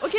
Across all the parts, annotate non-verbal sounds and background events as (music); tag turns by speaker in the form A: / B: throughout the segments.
A: Okej,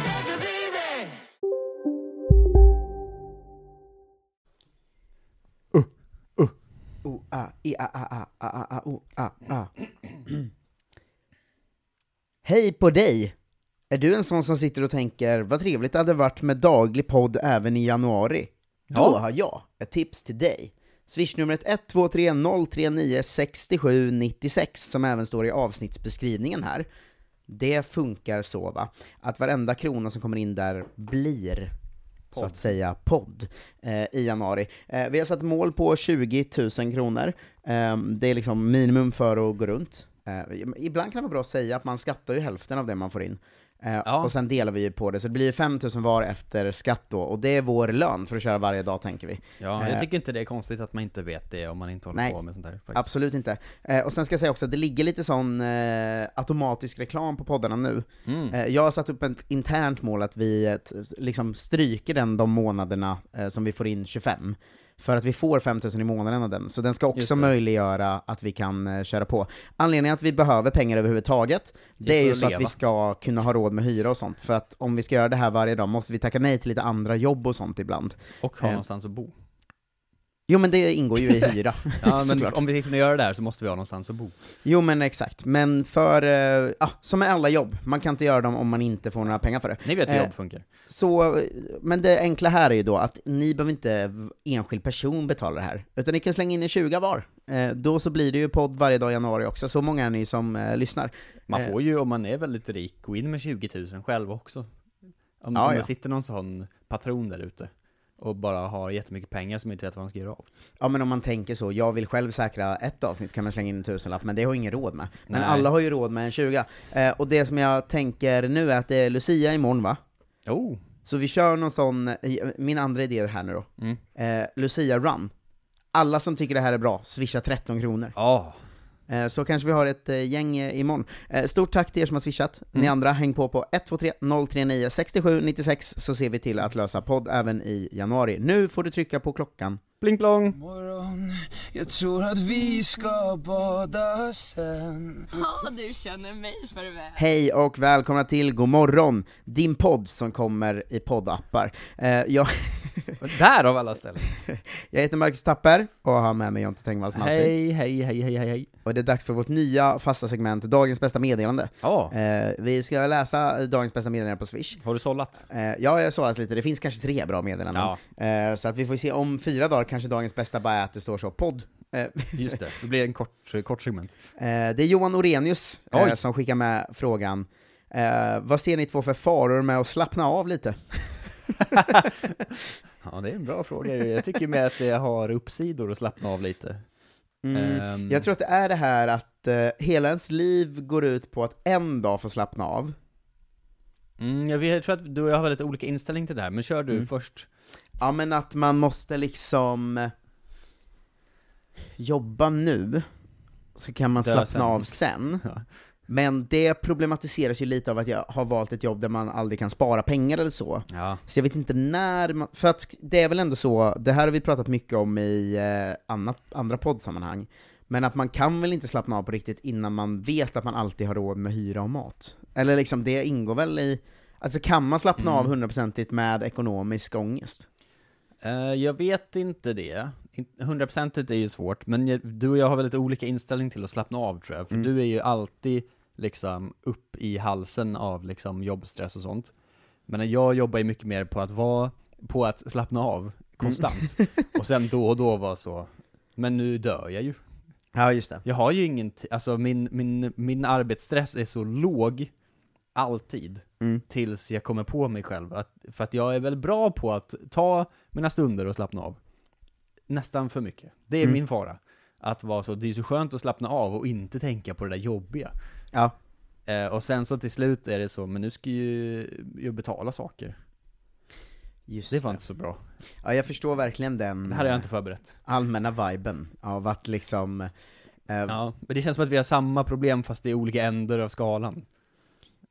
B: O, a, i, a, a, a, a, a, a, o, a, a. Hej på dig! Är du en sån som sitter och tänker, vad trevligt det hade varit med daglig podd även i januari? Då
C: Ja.
B: har jag ett tips till dig. Swishnumret 123 039 67 96, som även står i avsnittsbeskrivningen här. Det funkar så va, att varenda krona som kommer in där blir så att säga podd eh, i januari. Eh, vi har satt mål på 20 000 kronor. Eh, det är liksom minimum för att gå runt. Eh, ibland kan det vara bra att säga att man skattar ju hälften av det man får in. Eh,
C: Ja.
B: Och sen delar vi ju på det, så det blir ju 5 000 var efter skatt då, och det är vår lön för att köra varje dag tänker vi.
C: Ja,
B: Eh,
C: jag tycker inte det är konstigt att man inte vet det om man inte håller
B: Nej.
C: på med sånt här faktiskt.
B: Absolut inte. Eh, och sen ska jag säga också att det ligger lite sån eh, automatisk reklam på poddarna nu.
C: Mm.
B: Eh, jag har satt upp ett internt mål att vi eh, t- liksom stryker den de månaderna eh, som vi får in 25. För att vi får 5000 i månaden av den, så den ska
C: Just
B: också
C: det.
B: möjliggöra att vi kan eh, köra på. Anledningen att vi behöver pengar överhuvudtaget, det
C: är
B: är
C: för
B: ju
C: att
B: så att vi
C: leva.
B: ska kunna ha råd med hyra och sånt, för att om vi ska göra det här varje dag måste vi tacka nej till lite andra jobb och sånt ibland.
C: Och ha
B: Eh.
C: någonstans
B: (laughs)
C: att bo.
B: Jo men det ingår ju
C: (laughs)
B: i hyra, (laughs)
C: Ja, men
B: såklart.
C: om vi ska kunna göra det här så måste vi ha någonstans att bo.
B: Jo men exakt, men för, eh, ja, som med alla jobb, man kan inte göra dem om man inte får några pengar för det.
C: Ni vet hur
B: Eh.
C: jobb funkar.
B: Så, eh, men det enkla här är ju då att ni behöver inte v- enskild person betala det här, utan ni kan slänga in en 20 var. Eh, då så blir det ju podd varje dag i januari också, så många är ni som eh, lyssnar.
C: Man
B: Eh.
C: får ju, om man är väldigt rik, gå in med 20 000 själv också. Om,
B: Ja,
C: om
B: ja.
C: det sitter någon sån patron där ute och bara har jättemycket pengar som inte vet vad man ska göra av.
B: Ja men om man tänker så, jag vill själv säkra ett avsnitt kan man slänga in en tusenlapp, men det har jag ingen råd med. Men
C: Nej.
B: alla har ju råd med en 20. Eh, och det som jag tänker nu är att det är Lucia imorgon va?
C: Oh,
B: Så vi kör någon sån, eh, min andra idé här nu då.
C: Mm.
B: Eh, Lucia Run. Alla som tycker det här är bra, swisha 13 kronor.
C: ja.
B: Eh, så kanske vi har ett eh, gäng eh, imorgon. Eh, stort tack till er som har swishat. Ni andra, häng på på 123 039 67 96 så ser vi till att lösa podd även i januari. Nu får du trycka på klockan.
C: Blinklong!
D: morgon Jag tror att vi ska bada sen
B: Hej och välkomna till God morgon, din podd som kommer i poddappar. Eh, jag,
C: Där av alla ställen!
B: jag heter Marcus Tapper och har med mig Jonte Tengvall som (laughs) alltid.
C: Hej, hej, hej, hej, hej, hej.
B: Och det är dags för vårt nya fasta segment, Dagens bästa meddelande.
C: Ja,
B: Eh, vi ska läsa dagens bästa meddelande på Swish.
C: har du sållat?
B: Eh, ja, jag har sållat lite, det finns kanske tre bra meddelanden. Eh, så att vi får se, om fyra dagar kanske dagens bästa bara är att det står så, podd. Eh,
C: Just det, det blir en kort, kort segment.
B: eh, det är Johan Orenius eh,
C: Oj.
B: som skickar med frågan, eh, vad ser ni två för faror med att slappna av lite?
C: Ja, det är en bra fråga ju. Jag tycker med att det har uppsidor att slappna av lite. Ehm,
B: Jag tror att det är det här att eh, hela ens liv går ut på att en dag få slappna av.
C: Mm, jag, vet, jag tror att du och jag har väldigt olika inställning till det här, men kör du först.
B: Ja men att man måste liksom eh, jobba nu, så kan man
C: Dö
B: slappna
C: sen.
B: av sen.
C: (laughs) Ja.
B: Men det problematiseras ju lite av att jag har valt ett jobb där man aldrig kan spara pengar eller så.
C: Ja.
B: Så jag vet inte när man, för att sk- det är väl ändå så, det här har vi pratat mycket om i eh, annat, andra poddsammanhang, men att man kan väl inte slappna av på riktigt innan man vet att man alltid har råd med hyra och mat? Eller liksom, det ingår väl i, alltså kan man slappna av hundraprocentigt med ekonomisk ångest?
C: Eh, jag vet inte det. In- Hundraprocentigt är ju svårt, men jag, du och jag har väldigt olika inställning till att slappna av tror jag. För du är ju alltid liksom upp i halsen av liksom jobbstress och sånt. Men jag jobbar ju mycket Mm. mer på att vara, på att slappna av konstant. och sen då och då vara så, Men nu dör jag ju.
B: Ja, just det.
C: Jag har ju ingen ti- alltså min, min, min arbetsstress är så låg, alltid,
B: Mm.
C: tills jag kommer på mig själv. Att, för att jag är väl bra på att ta mina stunder och slappna av. Nästan för mycket. Det är
B: Mm.
C: min fara. Att vara så, det är så skönt att slappna av och inte tänka på det där jobbiga.
B: Ja.
C: Eh, och sen så till slut är det så, men nu ska ju jag betala saker.
B: Just
C: Det var inte så bra.
B: Ja, jag förstår verkligen den eh,
C: Det här har jag inte förberett.
B: allmänna viben av att liksom... Eh,
C: Ja, men det känns som att vi har samma problem fast det är olika ändar av skalan.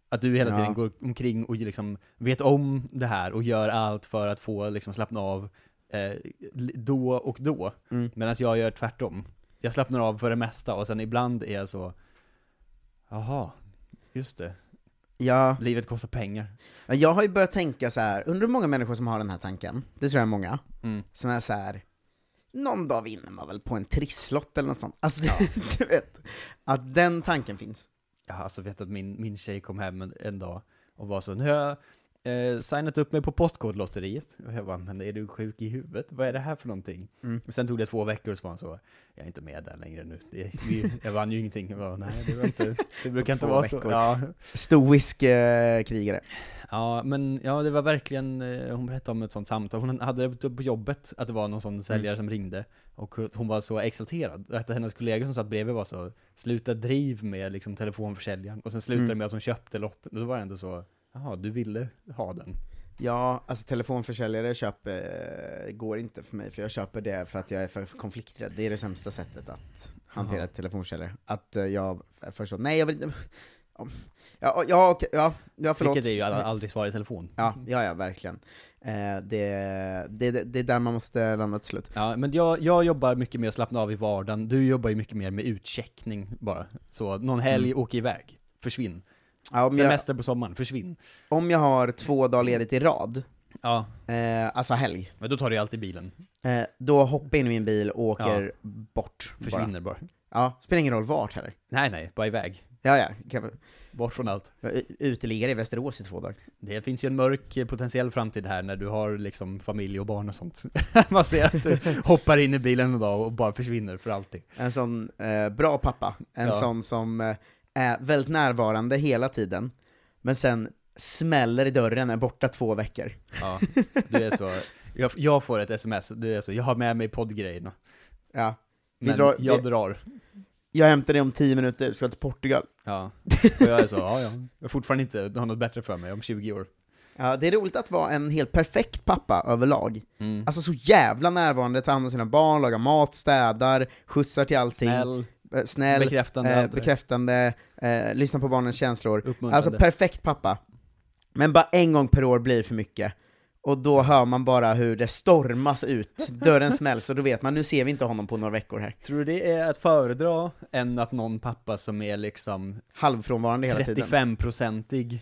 C: Att du hela
B: Ja.
C: tiden går omkring och liksom vet om det här och gör allt för att få liksom slappna av eh, li- då och då.
B: Mm.
C: Medan jag gör tvärtom. Jag slappnar av för det mesta och sen ibland är jag så, jaha, just det,
B: ja,
C: livet kostar pengar.
B: Ja, Jag har ju börjat tänka så här. undrar hur många människor som har den här tanken? Det tror jag är många.
C: Mm.
B: Som är så här. någon dag vinner man väl på en trisslott eller något sånt. Alltså, (laughs) du vet. Att den tanken finns.
C: Jag har alltså vet att min, min tjej kom hem en, en dag och var så, nu har jag eh, signat upp mig på Postkodlotteriet. Och jag bara, men är du sjuk i huvudet? Vad är det här för någonting?
B: Mm.
C: Och sen tog det två veckor och så var han så, jag är inte med där längre nu. Det, vi, jag vann ju ingenting. Jag bara, nej det var inte,
B: (laughs)
C: det brukar inte
B: Två
C: vara så.
B: veckor.
C: Ja.
B: Stoisk eh, krigare.
C: ja, men ja det var verkligen, eh, hon berättade om ett sånt samtal. Hon hade det på jobbet, att det var någon sån säljare
B: Mm.
C: som ringde. Och hon var så exalterad. Och Att hennes kollegor som satt bredvid var så, sluta driv med liksom, telefonförsäljaren. Och sen slutade det
B: Mm.
C: med att hon köpte lotten. Och då var det ändå så, jaha, du ville ha den.
B: Ja, alltså telefonförsäljare köp, eh, går inte för mig, för jag köper det för att jag är för konflikträdd. Det är det sämsta sättet att hantera
C: Jaha.
B: ett telefonförsäljare. Att eh, jag f- först så, nej jag vill inte... Ja, ja, okej, ja, ja förlåt.
C: Vilket är ju alla- aldrig svar i telefon.
B: Ja, ja, ja verkligen. Eh, det, det, det, det är där man måste landa till slut.
C: Ja, men jag, jag jobbar mycket mer slappna av i vardagen, du jobbar ju mycket mer med utcheckning bara. Så någon helg, åk iväg, försvinn.
B: Mm. Ja, om, jag,
C: Semester på sommaren, försvinn.
B: om jag har två dagar ledigt i rad,
C: Ja,
B: eh, alltså helg,
C: men då tar du ju alltid bilen,
B: eh, då hoppar jag in i min bil och åker
C: Ja.
B: bort. bara.
C: försvinner bara.
B: Ja, spelar ingen roll vart heller.
C: Nej, nej, bara iväg.
B: Ja, ja. Kan,
C: Bort från allt.
B: jag är uteliggare i Västerås i två dagar.
C: Det finns ju en mörk eh, potentiell framtid här när du har liksom familj och barn och sånt. (laughs) Man ser att du hoppar in i bilen en dag och bara försvinner för alltid.
B: En sån eh, bra pappa. En
C: Ja.
B: sån som eh, är väldigt närvarande hela tiden, men sen smäller i dörren, är borta två veckor.
C: Ja, du är så, jag, jag får ett sms, du är så, jag har med mig poddgrejerna,
B: Ja. Vi
C: men
B: drar-
C: jag
B: vi-
C: drar.
B: Jag hämtar dig om tio minuter, ska till Portugal.
C: Ja, och jag är så, ja, ja. Jag har fortfarande inte har något bättre för mig om 20 år.
B: Ja, det är roligt att vara en helt perfekt pappa överlag.
C: Mm.
B: Alltså så jävla närvarande, tar hand om sina barn, lagar mat, städar, skjutsar till allting.
C: Snäll,
B: eh, snäll
C: bekräftande,
B: eh,
C: allt det där.
B: bekräftande eh, lyssnar på barnens känslor. Alltså
C: uppmuntrande.
B: perfekt pappa. Men bara en gång per år blir för mycket. Och då hör man bara hur det stormas ut, dörren smälls och då vet man nu ser vi inte honom på några veckor här.
C: Tror du det är att föredra än att någon pappa som är liksom
B: Halvfrånvarande hela tiden.
C: 35-procentig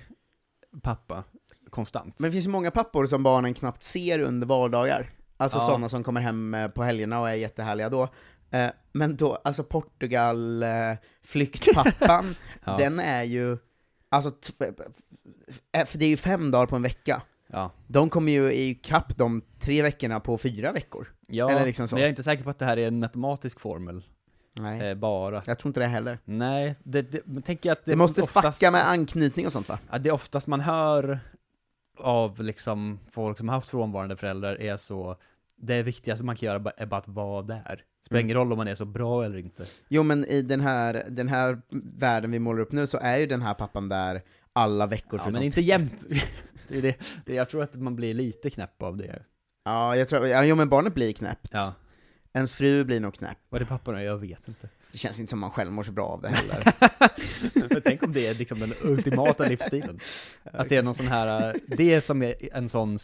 C: pappa konstant?
B: Men det finns ju många pappor som barnen knappt ser under vardagar. Alltså
C: Ja.
B: sådana som kommer hem eh, på helgerna och är jättehärliga då. Eh, Men då, alltså Portugal, eh, flyktpappan,
C: (laughs) Ja.
B: den är ju, alltså, t- eh, för det är ju fem dagar på en vecka.
C: ja.
B: De kommer ju i kapp de tre veckorna på fyra veckor.
C: Ja,
B: Eller liksom så.
C: men jag är inte säker på att det här är en matematisk formel,
B: Nej.
C: eh, bara.
B: Jag tror inte det heller.
C: Nej, det, det, men tänker jag att det,
B: Det, måste
C: oftast,
B: fucka med anknytning och sånt va?
C: Ja, det är oftast man hör av liksom folk som har haft frånvarande föräldrar är så, det viktigaste man kan göra ba- är bara att vara där.
B: Mm.
C: Spelar ingen roll om man är så bra eller inte.
B: Jo men i den här, den här världen vi målar upp nu så är ju den här pappan där alla veckor
C: Ja,
B: förutom
C: men inte jämt. (laughs) Det är det, det, jag tror att man blir lite knäpp av det.
B: Ja, jag tror, ja, jo men barnet blir knäppt.
C: Ja.
B: Ens fru blir nog knäpp.
C: Var det papporna? Jag vet inte.
B: Det känns inte som man själv mår så bra av det heller.
C: (laughs) Men Tänk om det är liksom den ultimata livsstilen. Att det är någon sån här, äh, det är som är en sån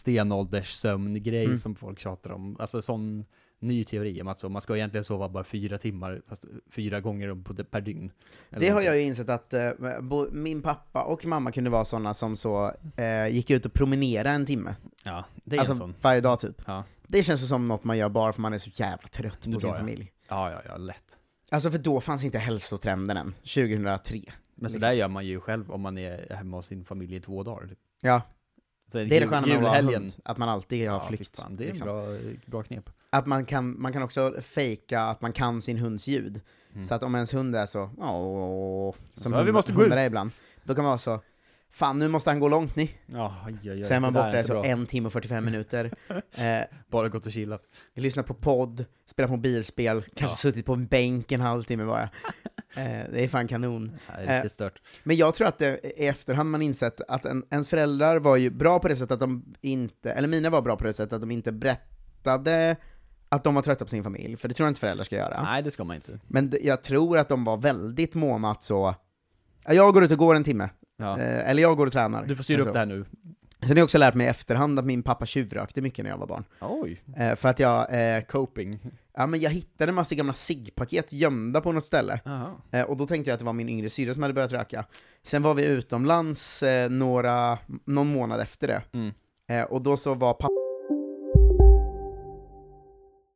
C: stenålderssömngrej
B: Mm.
C: som folk tjatar om. Alltså sån ny teori om att så, man ska egentligen sova bara fyra timmar, fast fyra gånger om på, per dygn. (laughs) Eller
B: det har
C: någonting.
B: jag ju insett att eh, bo, min pappa och mamma kunde vara sådana som så, eh, gick ut och promenera en timme.
C: Ja, det är en
B: Alltså
C: sån.
B: varje dag typ.
C: Ja.
B: Det känns ju som något man gör bara för man är så jävla trött
C: Nu
B: på sin
C: drar jag.
B: familj.
C: ja, ja, ja, lätt.
B: Alltså för då fanns inte hälsotrenden än, 2003.
C: Men så där gör man ju själv om man är hemma hos sin familj i två dagar.
B: Ja,
C: Så
B: det är det sköna med att vara
C: julhelgen.
B: hund, att man alltid har
C: Ja, fy
B: flykt.
C: fan, det är en
B: liksom.
C: bra, bra knep.
B: Att man kan, man kan också fejka att man kan sin hunds ljud. Så att om ens hund är så, åh, som
C: Så, Mm. "Vi
B: hund-
C: måste gå
B: hundar
C: ut."
B: är ibland, då kan man vara så, fan nu måste han gå långt ni.
C: Ja, oj, oj, oj,
B: Sen är man
C: det där
B: borta
C: är
B: i
C: inte
B: så
C: bra.
B: en timme och 45 minuter.
C: (laughs)
B: Eh,
C: Bara gått och chillat.
B: lyssnat på podd, spelat mobilspel, kanske
C: Ja.
B: suttit på en bänk en halvtimme
C: (laughs)
B: bara. Eh, det är fan kanon.
C: Nej, det är
B: Eh,
C: riktigt stört.
B: Men jag tror att det är i efterhand man insett att en, ens föräldrar var ju bra på det sättet att de inte, eller mina var bra på det sättet att de inte berättade att de var trötta på sin familj, för det tror jag inte föräldrar ska göra.
C: Nej, det ska man inte.
B: Men d- jag tror att de var väldigt måna att så, "Ja, jag går ut och går en timme,
C: Ja.
B: eh, eller jag går och tränar.
C: Du får styra
B: Eller
C: upp
B: så.
C: det här nu.
B: Sen har jag också lärt mig i efterhand att min pappa tjuvrökte mycket när jag var barn.
C: Oj,
B: Eh, för att jag, eh,
C: coping.
B: ja men jag hittade en massa gamla ciggpaket gömda på något ställe.
C: Aha.
B: Eh, Och då tänkte jag att det var min yngre syrra som hade börjat röka. Sen var vi utomlands eh, några, någon månad efter det.
C: Mm.
B: Eh, och då så var pappa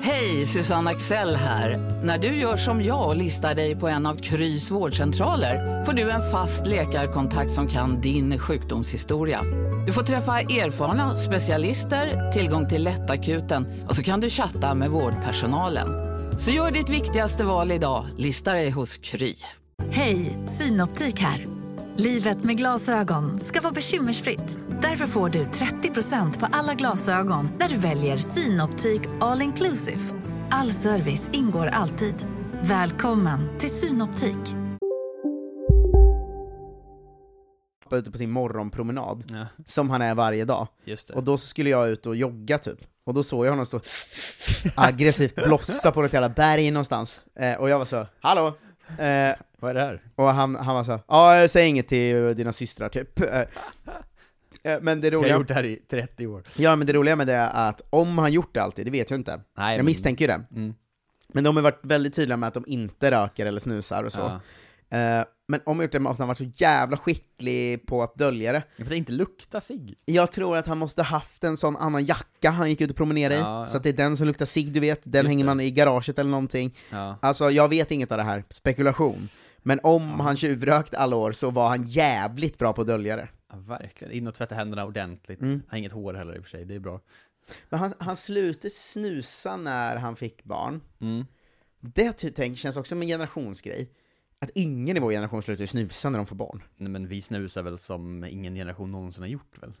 E: Hej, Susanne Axel här. När du gör som jag och listar dig på en av Krys vårdcentraler får du en fast läkarkontakt som kan din sjukdomshistoria. Du får träffa erfarna specialister, tillgång till lättakuten och så kan du chatta med vårdpersonalen. Så gör ditt viktigaste val idag, listar dig hos Kry.
F: Hej, Synoptik här. Livet med glasögon ska vara bekymmersfritt. Därför får du 30% på alla glasögon när du väljer Synoptik All Inclusive. All service ingår alltid. Välkommen till Synoptik.
B: ute på sin morgonpromenad,
C: Ja,
B: som han är varje dag.
C: just det.
B: Och då så skulle jag ut och jogga typ. Och då såg jag honom stå (laughs) aggressivt blossa på något jävla berg någonstans. Eh, och jag var så, hallå! Eh,
C: Vad är det här?
B: och han, han var så, ja säg inget till eh, dina systrar typ. Eh, eh, men det
C: Jag har
B: roliga,
C: gjort det här i 30 år.
B: ja, men det roliga med det är att om han gjort det alltid, det vet jag inte.
C: Nej,
B: Jag
C: men-
B: misstänker ju det.
C: Mm.
B: Men de har varit väldigt tydliga med att de inte röker eller snusar och så.
C: Ja.
B: Eh, men om jag gjort det med att han varit så jävla skicklig på att dölja det.
C: Men det inte lukta sig.
B: Jag tror att han måste haft en sån annan jacka han gick ut och promenerade
C: Ja, ja.
B: i, så att det är den som luktar cigg du vet, den
C: Just
B: hänger
C: det.
B: man i garaget eller någonting.
C: Ja.
B: Alltså jag vet inget av det här, spekulation. Men om han tjuvrökt alla år så var han jävligt bra på att dölja det.
C: ja, verkligen. In och tvätta händerna ordentligt.
B: Mm.
C: Har inget hår heller i och för sig, det är bra.
B: Men han, han slutade snusa när han fick barn.
C: Mm.
B: Det ty- tänk, känns också som en generationsgrej. Att ingen i vår generation slutar snusa när de får barn.
C: Nej, men vi snusar väl som ingen generation någonsin har gjort väl? Alltså,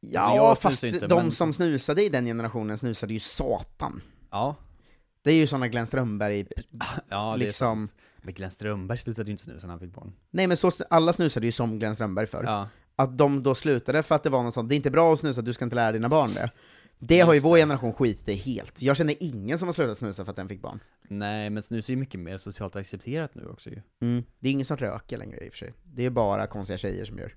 B: Ja,
C: jag snusar
B: fast
C: inte,
B: de
C: men-
B: som snusade i den generationen snusade ju satan.
C: Ja.
B: Det är ju såna Glenn Strömberg...
C: Ja, det
B: Liksom-
C: är sant. Men Glenn Strömberg slutade ju inte snusa när han fick barn.
B: Nej men så, alla snusade ju som Glenn Strömberg för.
C: Ja.
B: Att de då slutade för att det var någon sån, det är inte bra att snusa, du ska inte lära dina barn det. Det har ju
C: Just
B: vår
C: det.
B: generation skitit i helt. Jag känner ingen som har slutat snusa för att den fick barn.
C: Nej, men snus är ju mycket mer socialt accepterat nu också ju.
B: Mm. Det är ingen som röker längre i och för sig. Det är bara konstiga tjejer som gör.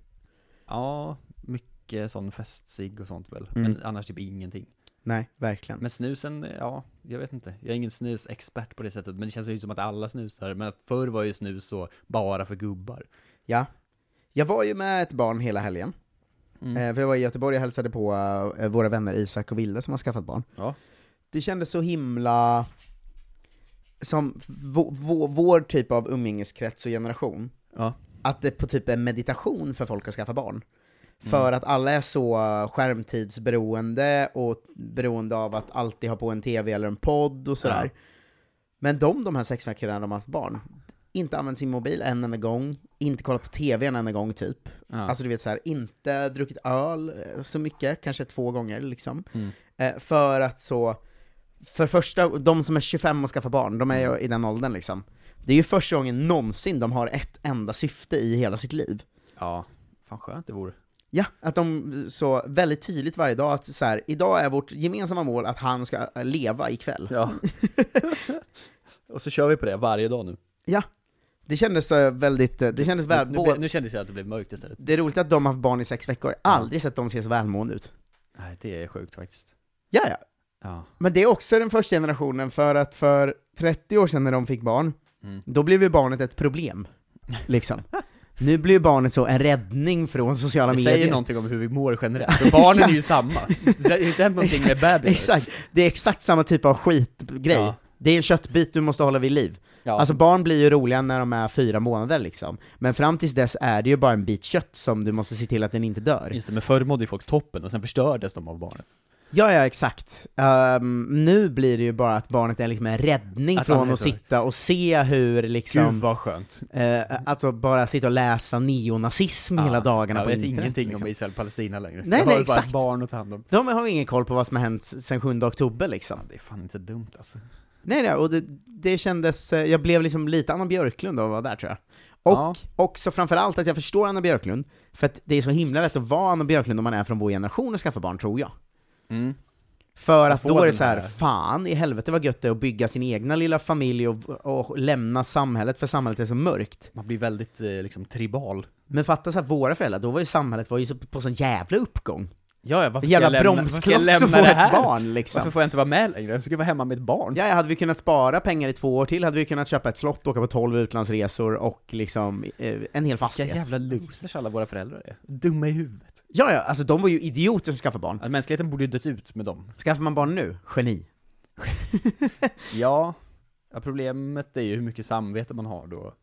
C: Ja, mycket sån festsig och sånt väl.
B: Mm.
C: Men annars typ ingenting.
B: Nej, verkligen.
C: Men snusen, ja, jag vet inte. Jag är ingen snusexpert på det sättet, men det känns ju som att alla snusar. Men att förr var ju snus så bara för gubbar.
B: Ja. Jag var ju med ett barn hela helgen.
C: Mm.
B: Eh, för jag var i Göteborg och hälsade på eh, våra vänner Isak och Vilde som har skaffat barn.
C: Ja.
B: Det kändes så himla... Som vå- vå- vår typ av umgängeskrets och generation.
C: Ja.
B: Att det på typ är meditation för folk att skaffa barn. För att alla är så skärmtidsberoende och beroende av att alltid ha på en tv eller en podd och sådär. Men de, de här sex veckorna de har haft barn, inte använt sin mobil en enda gång, inte kollat på tv en enda gång typ.
C: Ja.
B: Alltså du vet så här, inte druckit öl eh, så mycket, kanske två gånger liksom.
C: Mm.
B: Eh, för att så, för första, de som är 25 och skaffar barn, de är
C: Mm.
B: ju i den åldern liksom. Det är ju första gången någonsin de har ett enda syfte i hela sitt liv.
C: ja. Fan skönt det vore.
B: Ja, att de så väldigt tydligt varje dag att så här, idag är vårt gemensamma mål att han ska eh, leva ikväll.
C: Ja. (laughs) och så kör vi på det varje dag nu.
B: Det kändes eh, väldigt, eh, det kändes väl,
C: nu,
B: både-
C: nu kändes det att det blev mörkt istället.
B: Det är roligt att de har haft barn i sex veckor, aldrig sett dem se så välmående ut.
C: Nej, det är sjukt faktiskt.
B: Ja, ja.
C: Ja.
B: Men det är också den första generationen, för att för 30 år sedan när de fick barn,
C: Mm.
B: då blev ju barnet ett problem. Liksom. Nu blir ju barnet så en räddning från sociala
C: Det
B: medier.
C: säger någonting om hur vi mår generellt, för barnen är ju samma. Det har ju inte hänt någonting med
B: (laughs)
C: bebisar.
B: Exakt, det är exakt samma typ av skitgrej.
C: Ja.
B: Det är en köttbit du måste hålla vid liv.
C: Ja.
B: Alltså barn blir ju roliga när de är fyra månader liksom, men fram tills dess är det ju bara en bit kött som du måste se till att den inte dör.
C: Just det, men förr mådde ju folk toppen och sen förstördes de av barnet.
B: Ja, ja exakt. Ehm, nu blir det ju bara att barnet är liksom en räddning
C: Att han
B: från
C: är
B: att
C: så.
B: sitta och se hur liksom,
C: Gud vad skönt.
B: eh,
C: Mm.
B: alltså bara sitta och läsa neonazism hela dagarna
C: Ah, jag
B: på
C: vet
B: internet.
C: ingenting
B: liksom.
C: om Israel och Palestina längre.
B: Nej,
C: jag
B: nej,
C: har ju bara
B: exakt.
C: ett barn att ta hand om.
B: De har ju ingen koll på vad som har hänt sen 7 oktober liksom.
C: Det är fan inte dumt alltså.
B: Nej, nej, och det, det kändes, eh, jag blev liksom lite Anna Björklund av att vara där tror jag. Och
C: Ja.
B: också framförallt att jag förstår Anna Björklund, för att det är så himla lätt att vara Anna Björklund om man är från vår generation och skaffa barn, tror jag.
C: Mm.
B: För
C: Att
B: att
C: få
B: då är det
C: den
B: så här,
C: här-
B: fan i helvete vad gött det är att bygga sin egna lilla familj och, och lämna samhället, för samhället är så mörkt.
C: Man blir väldigt eh, liksom tribal.
B: Men fatta så här, våra föräldrar, då var ju samhället var ju så, på sån jävla uppgång.
C: Ja, ja, varför ska
B: Jävla
C: jag lämna, varför ska jag
B: bromskloss
C: lämna
B: att få
C: det
B: ett
C: här?
B: barn liksom.
C: Varför får jag inte vara med längre? Jag ska vara hemma med ett barn.
B: Ja, hade vi kunnat spara pengar i två år till hade vi kunnat köpa ett slott, åka på 12 utlandsresor och liksom eh, en hel fastighet.
C: Vilka jävla losers alla våra föräldrar är. Dumma i huvudet.
B: Ja, ja, alltså de var ju idioter som skaffade barn.
C: Att mänskligheten borde ju dött ut med dem.
B: Skaffar man barn nu? Geni.
C: Ja, ja, problemet är ju hur mycket samvete man har då.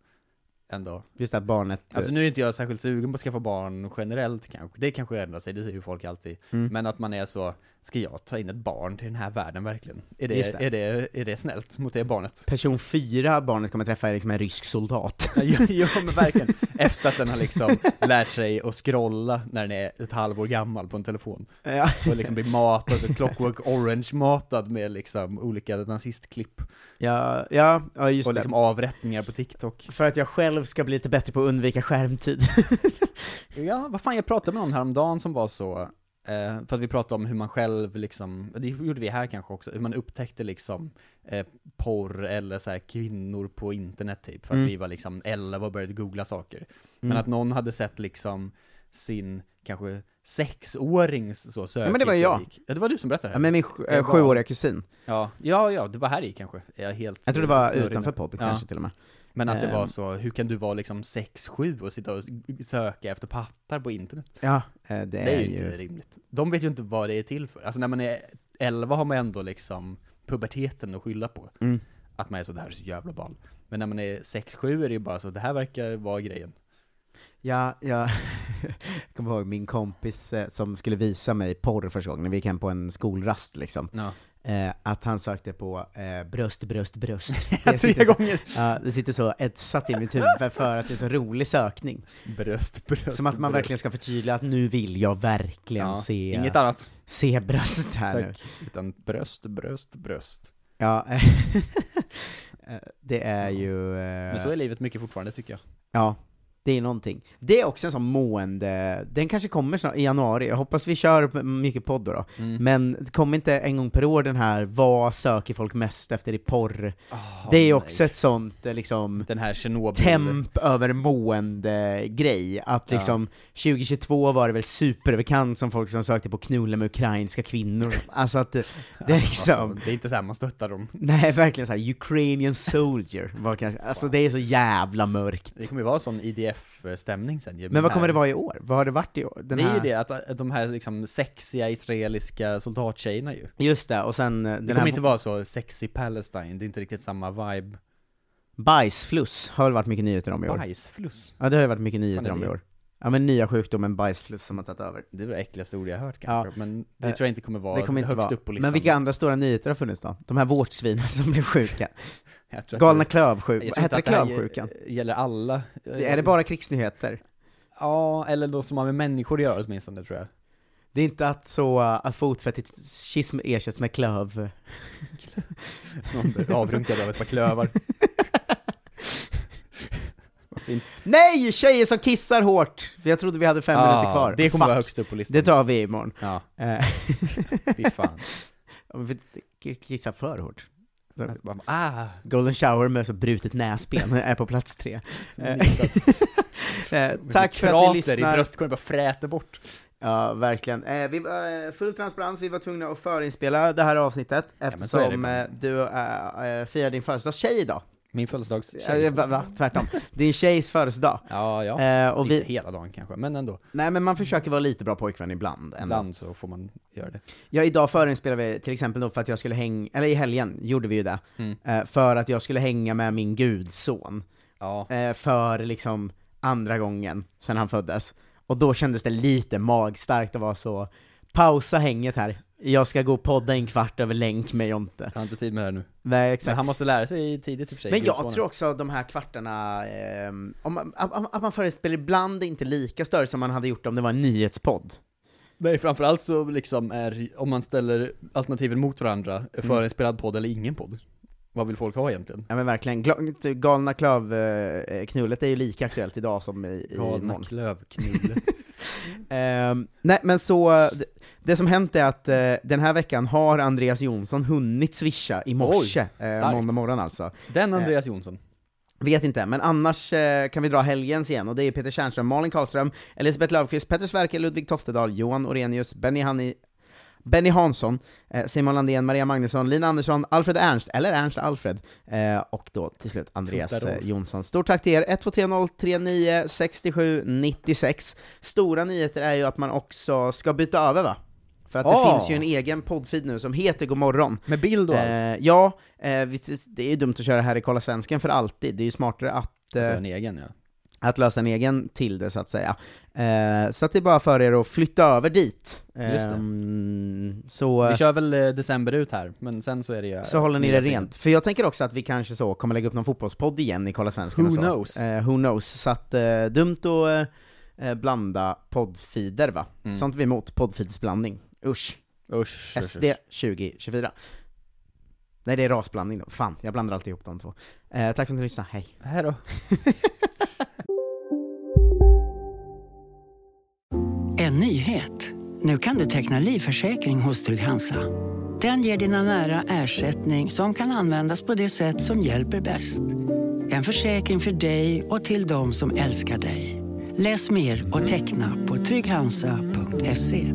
C: Ändå.
B: Just det att barnet... eh,
C: Alltså nu är inte jag särskilt sugen på att skaffa barn generellt kanske, det kanske ändrar sig, det säger ju folk alltid.
B: Mm.
C: Men att man är så, ska jag ta in ett barn till den här världen verkligen? Är det,
B: Just det.
C: Är det, är det snällt mot det barnet? (laughs)
B: person fyra barnet kommer träffa är liksom en rysk soldat.
C: ja, ja men verkligen. Efter att den har liksom lärt sig att scrolla när den är ett halvår gammal på en telefon.
B: Ja.
C: Och liksom blir matad, så clockwork orange-matad med liksom olika nazistklipp.
B: ja, ja, ja, just
C: och
B: det.
C: liksom avrättningar på TikTok.
B: För att jag själv ska bli lite bättre på att undvika skärmtid.
C: Ja, vad fan, jag pratade med någon häromdagen som var så, eh, för att vi pratade om hur man själv liksom, det gjorde vi här kanske också, hur man upptäckte liksom eh, porr eller så här kvinnor på internet typ, för att
B: Mm.
C: vi var liksom 11 och började googla saker. Men att någon hade sett liksom sin, kanske sexårings så sökhistorik.
B: men det var ju jag.
C: Ja, det var du som berättade det.
B: ja, men min sj- eh, sjuåriga kusin.
C: ja, ja, ja, det var här i kanske. Jag, är helt eh,
B: Jag tror det var
C: snurrig nu.
B: utanför podden
C: Ja.
B: kanske till och med.
C: Men att det
B: Ehm.
C: var så, hur kan du vara liksom 6-7 och sitta och s- söka efter pattar på internet?
B: Ja, eh, det,
C: Det är ju inte rimligt. De vet ju inte vad det är till för. Alltså när man är 11 har man ändå liksom puberteten att skylla på.
B: Mm.
C: Att man är så, det här är så jävla ball. Men när man är 6-7 är det ju bara så, det här verkar vara grejen.
B: Ja, ja. (laughs) jag kommer ihåg min kompis eh, som skulle visa mig porr första gången, när vi gick hem på en skolrast liksom.
C: Ja.
B: Eh, att han sökte på eh, bröst, bröst,
C: (laughs)
B: bröst.
C: (laughs) Tre
B: Det sitter så,
C: gånger!
B: ja, det sitter så etsat i mitt huvud för att det är så rolig sökning.
C: Bröst, (laughs) bröst,
B: Som att man verkligen ska förtydliga att nu vill jag verkligen
C: ja.
B: se,
C: Inget annat.
B: se bröst här nu.
C: Tack. Utan bröst, bröst, bröst.
B: Ja, (laughs) eh, det är ju... eh,
C: Men så är livet mycket fortfarande tycker jag.
B: Ja, det är någonting. Det är också en sån mående, den kanske kommer snart, i januari, jag hoppas vi kör p- mycket podd då, då.
C: Mm.
B: Men kom inte en gång per år den här 'Vad söker folk mest efter i porr?' Ah, det är också ett sånt eh, liksom
C: Den här Tjernobyl...
B: temp över mående grej, att
C: Ja.
B: liksom 2022 var det väl superbekant som folk som sökte på knulla med ukrainska kvinnor, alltså
C: (laughs)
B: att det, det är liksom
C: Alltså, det är inte så här man stöttar dem.
B: Nej verkligen såhär, 'Ukrainian soldier' var kanske, alltså det är så jävla mörkt
C: Det kommer ju vara sån IDF-stämning sen ju.
B: Men vad
C: här-
B: kommer det vara i år? Vad har det varit i år? Den
C: det är
B: här...
C: ju det, att att de här liksom sexiga israeliska soldattjejerna ju. Det
B: Just det, och sen eh, den
C: kommer
B: här
C: inte vara så sexy Palestine, det är inte riktigt samma vibe.
B: bajsfluss har det varit mycket nyheter om i år.
C: Bajsfluss.
B: Ja det har ju varit mycket
C: Fan,
B: nyheter
C: är
B: om i
C: det?
B: år. Ja men nya sjukdomen bajsfluss som har tagit över.
C: Det är det äckligaste ordet jag hört kanske, men det
B: Eh,
C: tror jag inte kommer vara
B: det kommer inte
C: högst
B: vara.
C: upp på listan.
B: Men vilka andra stora nyheter har funnits då? De här vårtsvinen som blev sjuka.
C: Jag tror att
B: Galna
C: det-
B: klövsjukan,
C: jag tror
B: hette det
C: inte att här
B: klövsjukan?
C: gäller alla.
B: Det- Är det bara krigsnyheter?
C: Ja, eller de som har med människor att göra åtminstone
B: (laughs)
C: tror jag.
B: Det är inte att så, uh, att fotfetishism ersätts med klöv?
C: Någon blir avrunkad av ett
B: (laughs)
C: par klövar. Vad fint.
B: Nej! Tjejer som kissar hårt! För jag trodde vi hade fem
C: Ah,
B: minuter kvar.
C: Det kommer
B: Fuck.
C: vara högst upp på listan.
B: Det tar vi imorgon.
C: Ja,
B: Eh, (laughs)
C: fy fan.
B: om vi k- kissar för hårt. Så-
C: Alltså, bara, ah,
B: Golden shower med så brutet näsben (laughs) är på plats tre.
C: så
B: Eh,
C: (laughs) nitar.
B: Eh, Tack för att ni lyssnar.
C: bröstkorgen bara fräter bort.
B: Ja, verkligen. Eh, vi, eh, full transparens, vi var tvungna att förinspela det här avsnittet
C: men så är det
B: eftersom
C: bara.
B: eh, du eh, eh, firar din födelsedagstjej idag.
C: Min födelsedagstjej.
B: Eh, Va, va? Tvärtom. Din tjejs födelsedag.
C: Ja, ja.
B: Eh, och
C: Inte
B: vi,
C: hela dagen kanske, men ändå.
B: nej men man försöker vara lite bra pojkvän ibland. ändå.
C: Ibland så får man göra det.
B: Ja, idag förinspelade vi till exempel då för att jag skulle hänga, eller i helgen gjorde vi ju det,
C: Mm.
B: eh, för att jag skulle hänga med min gudson,
C: Ja.
B: eh, för liksom andra gången sen han föddes. Och då kändes det lite magstarkt att vara så, pausa hänget här, jag ska gå och podda en kvart över länk med Jonte.
C: Jag har inte tid med det här nu.
B: Nej
C: Men
B: exakt.
C: han måste lära sig tidigt i och för sig.
B: Men jag
C: gudsonen.
B: tror också att de här kvartarna, eh, om man, att- att att man förinspelar ibland är inte lika större som man hade gjort om det var en nyhetspodd.
C: Nej, framförallt så liksom är, om man ställer alternativen mot varandra,
B: Mm.
C: förinspelad podd eller ingen podd. Vad vill folk ha egentligen?
B: Ja men verkligen, Gla- galna klövknullet är ju lika aktuellt idag som i, i
C: Galna
B: imorgon. (laughs)
C: klövknullet.
B: Ehm, nej men så, d- det som hänt är att eh, den här veckan har Andreas Jonsson hunnit swisha i morse, eh,
C: starkt.
B: måndag morgon alltså.
C: Den Andreas Jonsson.
B: Vet inte, men annars eh, kan vi dra helgens igen, och det är Peter Tjernström, Malin Karlström, Elisabeth Löfqvist, Petter Sverker, Ludvig Toftedal, Johan Orenius, Benny, Hanni, Benny Hansson, eh, Simon Landén, Maria Magnusson, Lina Andersson, Alfred Ernst, eller Ernst Alfred, eh, och då till slut Andreas
C: Tuttaroff.
B: eh, Jonsson. Stort tack till er! 1230396796. Stora nyheter är ju att man också ska byta över va? För att det
C: Ah.
B: finns ju en egen poddfeed nu som heter Godmorgon.
C: Med bild och allt.
B: Eh, ja, eh, visst, det är ju dumt att köra här i Kolla Svensken för alltid, det är ju smartare att,
C: Det var
B: eh,
C: en egen ja.
B: att lösa en egen till det så att säga. Eh, så att det är bara för er att flytta över dit.
C: Just det.
B: Ehm, så, eh,
C: Vi kör väl eh, december ut här, men sen så är det ju...
B: så håller ni det
C: nya
B: rent. För jag tänker också att vi kanske så kommer lägga upp någon fotbollspodd igen i Kolla Svensken
C: Who
B: och så.
C: knows?
B: Eh, who knows? Så att, eh, dumt att eh, blanda poddfeeder va?
C: Mm.
B: Sånt vi är emot, poddfeedsblandning. Usch.
C: filmer. Usch, usch,
B: SD 2024. Nej det är rasblandning då, fan jag blandar alltid ihop de två. Eh, tack för att ni lyssnade, hej!
C: usch. Här då.
G: En nyhet. Nu kan du teckna livförsäkring hos Trygg-Hansa. Den ger dina nära ersättning som kan användas på det sätt som hjälper bäst. En försäkring för dig och till de som älskar dig. Läs mer och teckna på trygghansa.se.